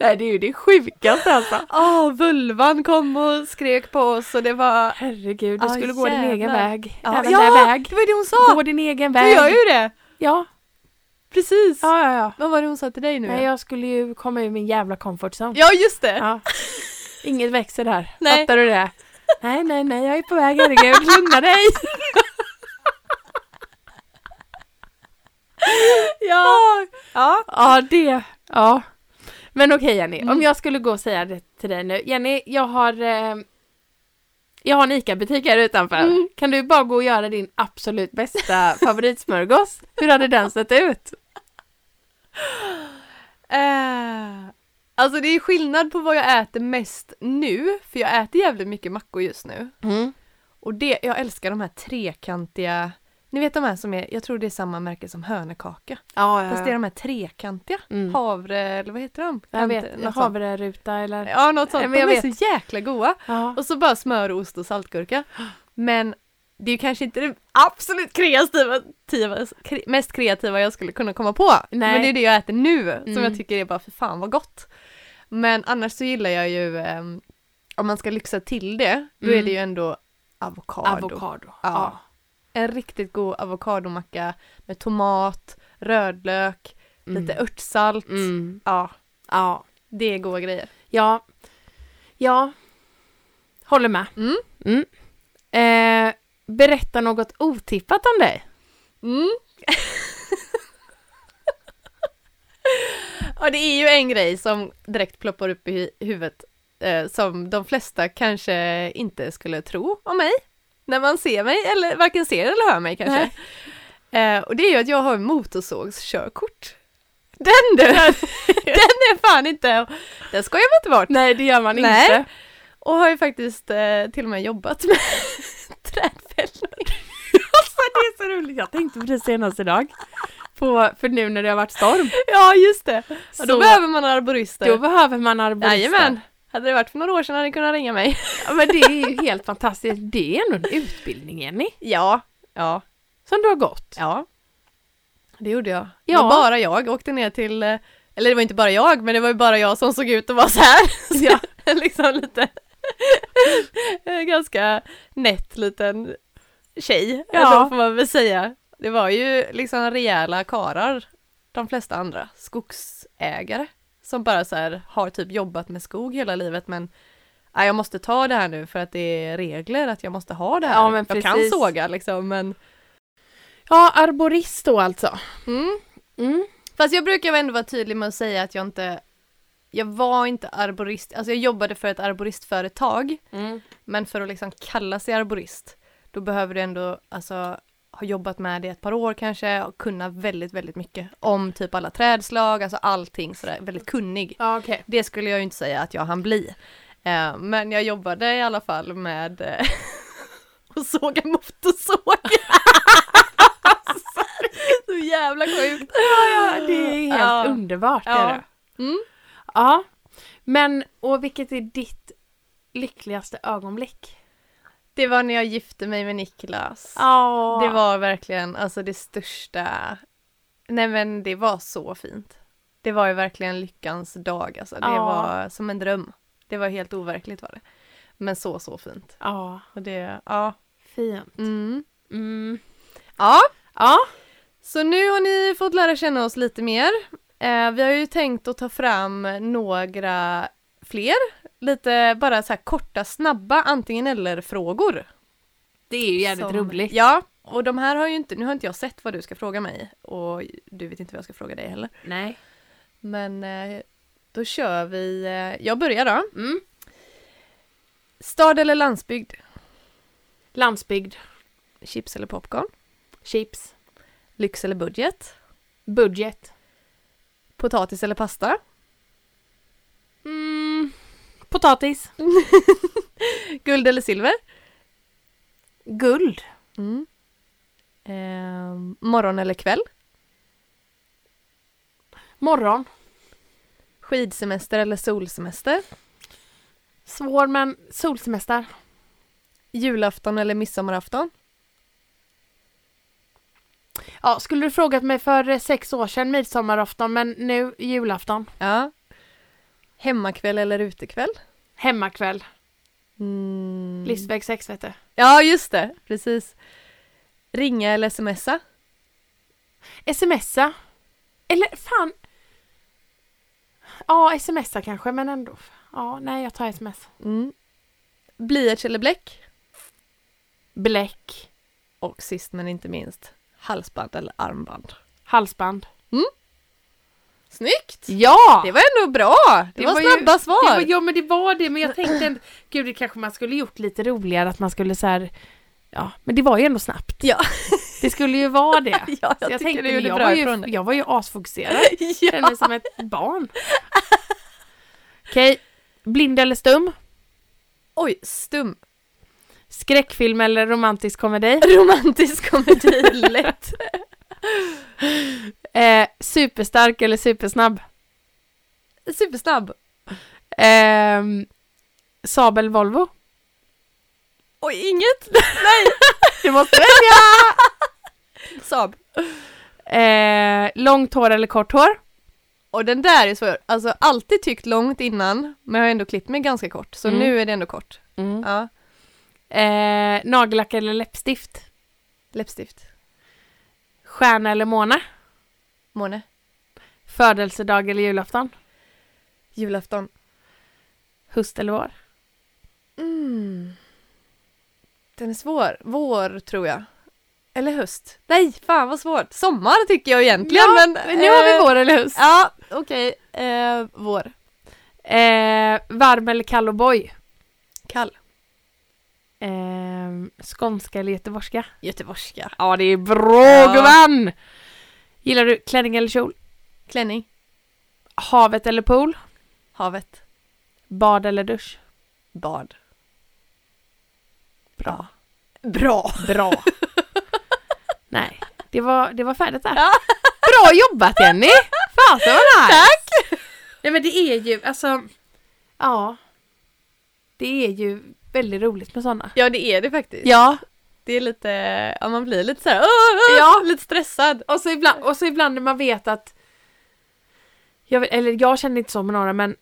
S1: Nej det är ju det sjukaste alltså.
S2: Åh, Ah, vulvan kom och skrek på oss och det var...
S1: Herregud, du
S2: Ah,
S1: skulle gå din egen
S2: jävlar.
S1: väg.
S2: Ja,
S1: Även där väg.
S2: det var ju det hon sa!
S1: Gå din egen
S2: Du
S1: väg.
S2: gör ju det!
S1: Ja,
S2: Precis!
S1: ja, ja. ja.
S2: Vad var det hon sa till dig nu?
S1: Nej jag skulle ju komma ur min jävla comfort zone.
S2: Ja, just det!
S1: Ja. Inget växer här.
S2: Nej.
S1: Fattar du det? Nej, nej, nej, jag är på väg, herregud, lugna dig!
S2: Ja! ja.
S1: Ja, det. Ja. Men okej Jenny,
S2: Mm.
S1: om jag skulle gå och säga det till dig nu. Jenny, jag har eh, jag har en ICA-butik här utanför.
S2: Mm.
S1: Kan du bara gå och göra din absolut bästa favoritsmörgås? Hur hade den sett ut?
S2: Eh, alltså det är skillnad på vad jag äter mest nu, för jag äter jävligt mycket mackor just nu. Och det, jag älskar de här trekantiga, ni vet de här som är, jag tror det är samma märke som hönekaka.
S1: Ja,
S2: Fast det är de här trekantiga,
S1: Mm.
S2: havre eller vad heter de?
S1: Jag vet,
S2: Inte- något sånt.
S1: havreruta eller?
S2: Ja, något sånt.
S1: Nej, men
S2: de
S1: jag
S2: är så jäkla goda.
S1: Ja.
S2: Och så bara smör, ost och saltgurka. Men det är ju kanske inte det absolut kreativa, tiva, kre, mest kreativa jag skulle kunna komma på.
S1: Nej.
S2: Men det är det jag äter nu som
S1: Mm.
S2: jag tycker är bara för fan vad gott. Men annars så gillar jag ju, ehm, om man ska lyxa till det, då är
S1: Mm.
S2: det ju ändå avokado.
S1: Avokado.
S2: Ja. En riktigt god avokadomacka med tomat, rödlök,
S1: Mm.
S2: lite örtsalt.
S1: Mm.
S2: Ja,
S1: Ja.
S2: det är goda grejer.
S1: Ja. Ja. Håller med.
S2: Mm.
S1: Mm. Eh, berätta något otippat om dig.
S2: Mm. ja, det är ju en grej som direkt ploppar upp i hu- huvudet eh, som de flesta kanske inte skulle tro om mig när man ser mig, eller varken ser eller hör mig kanske. Eh, och det är ju att jag har motorsågskörkort. Den du! den är fan inte... Den skojar man inte bort.
S1: Nej, det gör man
S2: Nej.
S1: inte.
S2: Och har ju faktiskt eh, till och med jobbat med trädfällning.
S1: Alltså, det är så roligt. Jag tänkte på det senast idag. På, för nu när det har varit storm.
S2: Ja, just det. Ja,
S1: Så-
S2: då behöver man arborister.
S1: Då behöver man arborister.
S2: Jajamän! Hade det varit för några år sedan hade ni kunnat ringa mig.
S1: Ja, men det är ju helt fantastiskt. Det är ändå en utbildning, Jenny,
S2: Ja, ja,
S1: som du har gått.
S2: ja. Det gjorde jag.
S1: Ja.
S2: Det var bara jag. Åkte ner till, eh, eller det var inte bara jag, men det var ju bara jag som såg ut att vara så här.
S1: Ja.
S2: liksom lite, en ganska nätt liten tjej,
S1: Ja.
S2: ja. får man väl säga. Det var ju liksom rejäla karar, de flesta andra skogsägare, som bara så här har typ jobbat med skog hela livet, men "Nej, jag måste ta det här nu för att det är regler att jag måste ha det här.
S1: Ja, men
S2: jag kan
S1: precis.
S2: såga liksom, men
S1: Ja, arborist då alltså.
S2: mm.
S1: Mm.
S2: Fast jag brukar ändå vara tydlig med att säga att jag inte jag var inte arborist, alltså jag jobbade för ett arboristföretag
S1: Mm.
S2: men för att liksom kalla sig arborist då behöver du ändå alltså ha jobbat med det ett par år kanske och kunna väldigt, väldigt mycket om typ alla trädslag, alltså allting sådär, väldigt kunnig.
S1: Ja, okej.
S2: Det skulle jag ju inte säga att jag hann bli. Eh, men jag jobbade i alla fall med eh, och såga motorsåg. Så jävla sjukt.
S1: Ja, det är helt
S2: Ja.
S1: underbart.
S2: Ja.
S1: är det.
S2: Mm.
S1: Ja, men och vilket är ditt lyckligaste ögonblick?
S2: Det var när jag gifte mig med Niklas.
S1: Ja,
S2: Det var verkligen alltså det största Nej men det var så fint. Det var ju verkligen lyckans dag alltså. Det
S1: Ja.
S2: var som en dröm. Det var helt overkligt var det. Men så, så fint.
S1: Ja,
S2: Och det, ja.
S1: fint.
S2: Mm.
S1: Mm.
S2: Ja,
S1: Ja,
S2: så nu har ni fått lära känna oss lite mer. Eh, vi har ju tänkt att ta fram några fler, lite bara så här korta, snabba antingen eller-frågor.
S1: det är ju jävligt
S2: som-
S1: roligt.
S2: Ja, och de här har ju inte, nu har inte jag sett vad du ska fråga mig och du vet inte vad jag ska fråga dig heller.
S1: Nej.
S2: Men eh, då kör vi, eh, jag börjar då.
S1: Mm.
S2: Stad eller landsbygd?
S1: Landsbygd,
S2: Chips eller popcorn?
S1: chips,
S2: Lyx eller budget?
S1: budget.
S2: Potatis eller pasta?
S1: Mm. Potatis,
S2: Mm. Guld eller silver?
S1: guld,
S2: Mm. Ehm, morgon eller kväll?
S1: morgon.
S2: Skidsemester eller solsemester?
S1: Svår men solsemester.
S2: Julafton eller midsommarafton?
S1: Ja, skulle du frågat mig för eh, sex år sedan midsommarafton men nu julafton.
S2: Ja. Hemmakväll eller utekväll?
S1: Hemmakväll.
S2: Mm.
S1: Livsväg 6 vet du.
S2: Ja, just det. Precis. Ringa eller smsa?
S1: Smsa. Eller fan. Ja, smsa kanske men ändå. Ja, nej jag tar sms.
S2: Mm. Blyerts eller bläck?
S1: Bläck.
S2: Och sist men inte minst, halsband eller armband.
S1: Halsband.
S2: Snyggt!
S1: Ja!
S2: Det var ändå bra! Det,
S1: Det
S2: var,
S1: var ju-
S2: snabba
S1: Det
S2: svar!
S1: var, ja men det var det, men jag tänkte ändå, gud det kanske man skulle gjort lite roligare att man skulle så här, ja men det var ju ändå snabbt.
S2: Ja.
S1: Det skulle ju vara det. Så
S2: Ja, jag, tycker du
S1: men
S2: gjorde
S1: jag,
S2: bra
S1: var
S2: ifrån
S1: ju,
S2: dig.
S1: jag var ju asfokuserad,
S2: Ja.
S1: kände mig som ett barn. Okej, blind eller stum?
S2: Oj, stum.
S1: Skräckfilm eller romantisk komedi?
S2: Romantisk komedi, lätt.
S1: Eh, superstark eller supersnabb?
S2: Supersnabb.
S1: Ehm, Sabel Volvo?
S2: Oj, inget.
S1: Du måste
S2: Saab.
S1: eh, Långt hår eller kort hår?
S2: Och den där är svår. Alltså, alltid tyckt långt innan, men jag har ändå klippt mig ganska kort. Så
S1: Mm.
S2: nu är det ändå kort. Ja.
S1: Eh, nagellack eller läppstift?
S2: Läppstift.
S1: Stjärna eller måne?
S2: Måne.
S1: Födelsedag eller julafton?
S2: Julafton.
S1: Höst eller vår?
S2: Mm. Den är svår. Vår, tror jag. Eller höst. Nej, fan vad svårt. Sommar tycker jag egentligen, men...
S1: Men nu har
S2: eh,
S1: vi vår eller höst.
S2: Ja, okej. Eh, vår.
S1: Eh, varm eller kall och boy?
S2: Kall.
S1: Eh, skånska eller göteborgska?
S2: Göteborgska.
S1: Ja, det är
S2: Ja.
S1: bra gumman! Gillar du klänning eller kjol?
S2: Klänning.
S1: Havet eller pool?
S2: Havet.
S1: Bad eller dusch?
S2: Bad.
S1: Bra.
S2: Bra!
S1: Bra. Nej, det var, det var färdigt där. Bra jobbat Jenny! Fasen vad nice!
S2: Tack!
S1: Nej men det är ju, alltså, ja. Det är ju väldigt roligt med sådana.
S2: Ja, det är det faktiskt.
S1: Ja,
S2: Det är lite... Ja, man blir lite så här... "Åh, åh",
S1: Ja.
S2: Lite stressad.
S1: och så ibland, och så ibland när man vet att jag vet, eller jag känner inte så med några men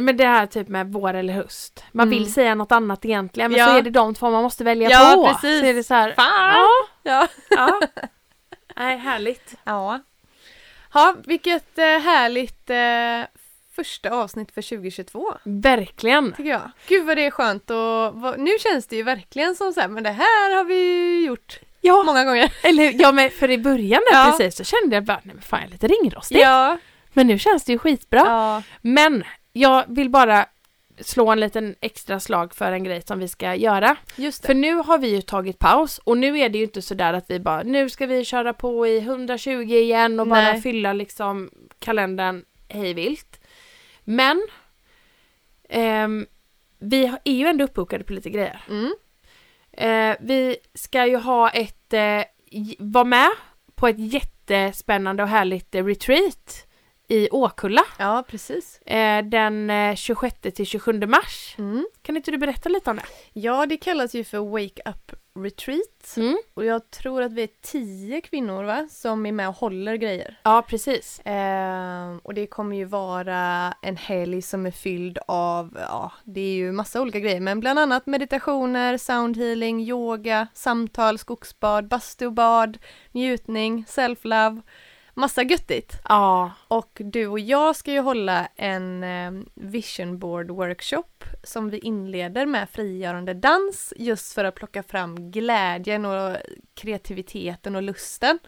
S1: men det här typ med vår eller höst. Man
S2: Mm.
S1: vill säga något annat egentligen men
S2: Ja.
S1: så är det de två man måste välja
S2: Ja,
S1: på.
S2: precis.
S1: Så är det så här,
S2: Fan!
S1: ja,
S2: Ja.
S1: ja. Nej, härligt.
S2: Ja. Ja, vilket eh, härligt eh, första avsnitt för 2022.
S1: Verkligen.
S2: Tycker jag. Gud vad det är skönt och vad, nu känns det ju verkligen som så här, men det här har vi ju gjort
S1: Ja,
S2: många gånger.
S1: eller ja men för i början där
S2: Ja.
S1: precis så kände jag bara, nej men fan jag är lite ringrostig.
S2: Ja.
S1: Men nu känns det ju skitbra.
S2: ja.
S1: Men jag vill bara slå en liten extra slag för en grej som vi ska göra.
S2: Just det.
S1: För nu har vi ju tagit paus och nu är det ju inte sådär att vi bara nu ska vi köra på i 120 igen och bara
S2: Nej.
S1: fylla liksom kalendern hej vilt. Men ehm, vi har- är ju ändå uppbokade på lite grejer.
S2: Mm.
S1: Eh, vi ska ju ha ett, eh, j- vara med på ett jättespännande och härligt eh, retreat i Åkulla
S2: Ja, precis.
S1: eh, den eh, 26 till 27 mars.
S2: Mm.
S1: Kan inte du berätta lite om det?
S2: Ja, det kallas ju för Wake Up Retreat.
S1: Mm.
S2: Och jag tror att vi är tio kvinnor va, som är med och håller grejer.
S1: Ja, precis.
S2: Ehm, och det kommer ju vara en helg som är fylld av, ja, det är ju massa olika grejer, men bland annat meditationer, soundhealing, yoga, samtal, skogsbad, bastubad, njutning, self-love, massa göttigt.
S1: Ja,
S2: Och du och jag ska ju hålla en eh, vision board workshop som vi inleder med frigörande dans just för att plocka fram glädjen och kreativiteten och lusten.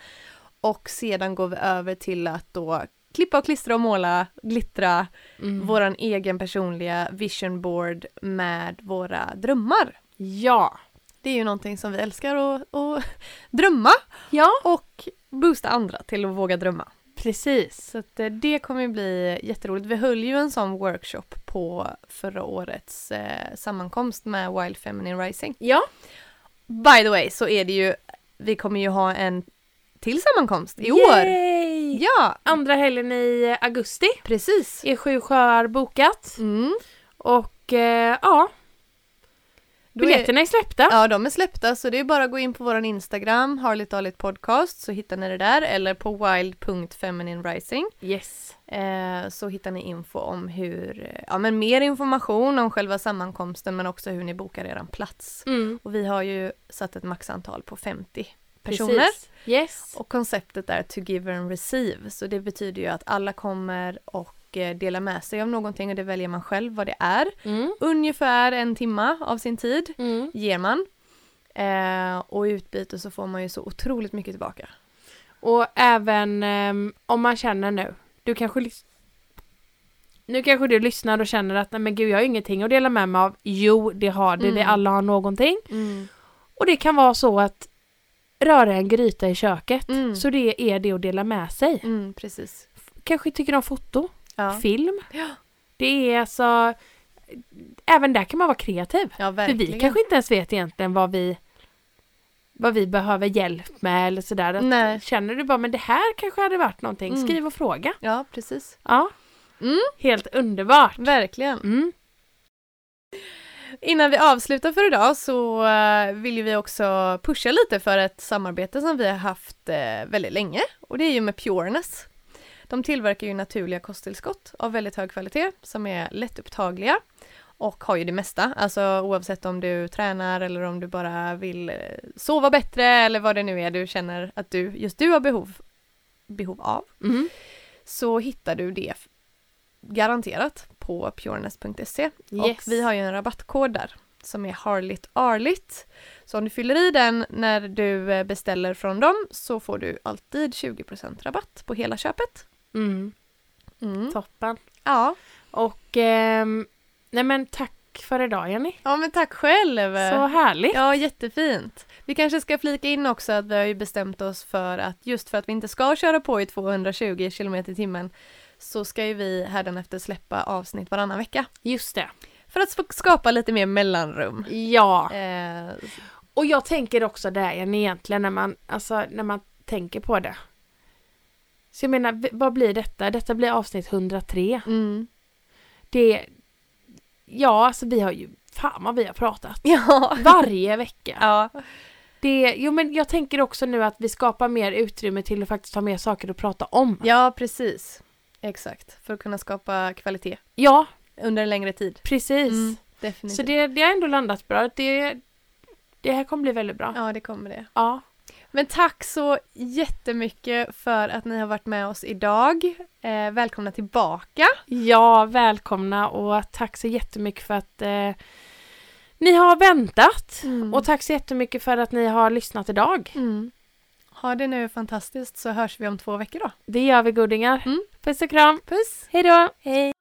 S2: Och sedan går vi över till att då klippa och klistra och måla, glittra
S1: mm.
S2: våran egen personliga vision board med våra drömmar.
S1: ja.
S2: Det är ju någonting som vi älskar att, att drömma
S1: Ja,
S2: och boosta andra till att våga drömma.
S1: precis.
S2: Så att eh, det kommer ju bli jätteroligt. Vi höll ju en sån workshop på förra årets eh, sammankomst med Wild Feminine Rising.
S1: Ja,
S2: By the way så är det ju, vi kommer ju ha en till sammankomst i år.
S1: Yay!
S2: Ja,
S1: Andra helgen i eh, augusti
S2: precis.
S1: är Sju sjöar bokat.
S2: Mm.
S1: Och eh, ja,
S2: Då är-
S1: biljetterna är släppta.
S2: Ja, de är släppta så det är bara att gå in på vår Instagram, Harligt Harligt Podcast, så hittar ni det där eller på wild.femininerising.
S1: Yes.
S2: Eh, så hittar ni info om hur, eh, ja men mer information om själva sammankomsten men också hur ni bokar eran plats.
S1: Mm.
S2: Och vi har ju satt ett maxantal på 50 personer.
S1: Personer. Yes.
S2: Och konceptet är to give and receive. Så det betyder ju att alla kommer och eh, delar med sig av någonting och det väljer man själv vad det är.
S1: Mm.
S2: Ungefär en timma av sin tid
S1: Mm.
S2: ger man. Eh, och i utbyte så får man ju så otroligt mycket tillbaka.
S1: Och även ehm, om man känner nu, du kanske lys- nu kanske du lyssnar och känner att nej men gud jag har ju ingenting att dela med mig av. Jo, det har du,
S2: Mm.
S1: det alla har någonting. Och det kan vara så att röra en gryta i köket,
S2: Mm.
S1: så det är det att dela med sig.
S2: Mm, precis.
S1: Kanske tycker om foto,
S2: Ja,
S1: film.
S2: Ja.
S1: Det är alltså, även där kan man vara kreativ.
S2: ja
S1: För
S2: verkligen.
S1: vi kanske inte ens vet egentligen vad vi vad vi behöver hjälp med eller sådär. Att
S2: Nej.
S1: Känner du bara men det här kanske hade varit någonting,
S2: Mm.
S1: skriv och fråga.
S2: Ja, precis.
S1: Ja.
S2: Mm.
S1: Helt underbart.
S2: Verkligen.
S1: Mm.
S2: Innan vi avslutar för idag så eh, vill ju vi också pusha lite för ett samarbete som vi har haft eh, väldigt länge och det är ju med Pureness. De tillverkar ju naturliga kosttillskott av väldigt hög kvalitet som är lättupptagliga och har ju det mesta, alltså oavsett om du tränar eller om du bara vill eh, sova bättre eller vad det nu är du känner att du, just du har behov, behov av
S1: Mm.
S2: så hittar du det f- garanterat på pureness.se. Och
S1: Yes.
S2: vi har ju en rabattkod där som är harligt arligt. Så om du fyller i den när du eh, beställer från dem så får du alltid 20% rabatt på hela köpet.
S1: Mm.
S2: Mm.
S1: Toppen.
S2: Ja.
S1: Och ehm, nej men tack för idag Jenny.
S2: ja, men tack själv!
S1: Så härligt.
S2: Eh, Ja, jättefint. Vi kanske ska flika in också att vi har ju bestämt oss för att just för att vi inte ska köra på i 220 km i timmen så ska ju vi hädanefter släppa avsnitt varannan vecka.
S1: Just det.
S2: För att sp- skapa lite mer mellanrum.
S1: Ja.
S2: Eh,
S1: Och jag tänker också där Jenny egentligen när man, alltså, när man tänker på det. Så jag menar, v- vad blir detta? Detta blir avsnitt 103.
S2: mm.
S1: Det... Ja, alltså vi har ju... Fan vad vi har pratat.
S2: Ja.
S1: Varje vecka.
S2: ja.
S1: Det, jo men jag tänker också nu att vi skapar mer utrymme till att faktiskt ha mer saker att prata om.
S2: Ja, precis. Exakt. För att kunna skapa kvalitet
S1: Ja,
S2: under en längre tid.
S1: precis.
S2: Mm,
S1: Så
S2: definitivt.
S1: det, det har ändå landat bra. Det, det här kommer bli väldigt bra.
S2: Ja, det kommer det.
S1: Ja.
S2: Men tack så jättemycket för att ni har varit med oss idag. Eh, välkomna tillbaka.
S1: Ja, välkomna och tack så jättemycket för att eh, ni har väntat. Och tack så jättemycket för att ni har lyssnat idag.
S2: mm. Ha det nu fantastiskt så hörs vi om två veckor då.
S1: Det gör vi godingar.
S2: Mm.
S1: Puss och kram.
S2: Puss!
S1: Hej då! Hej!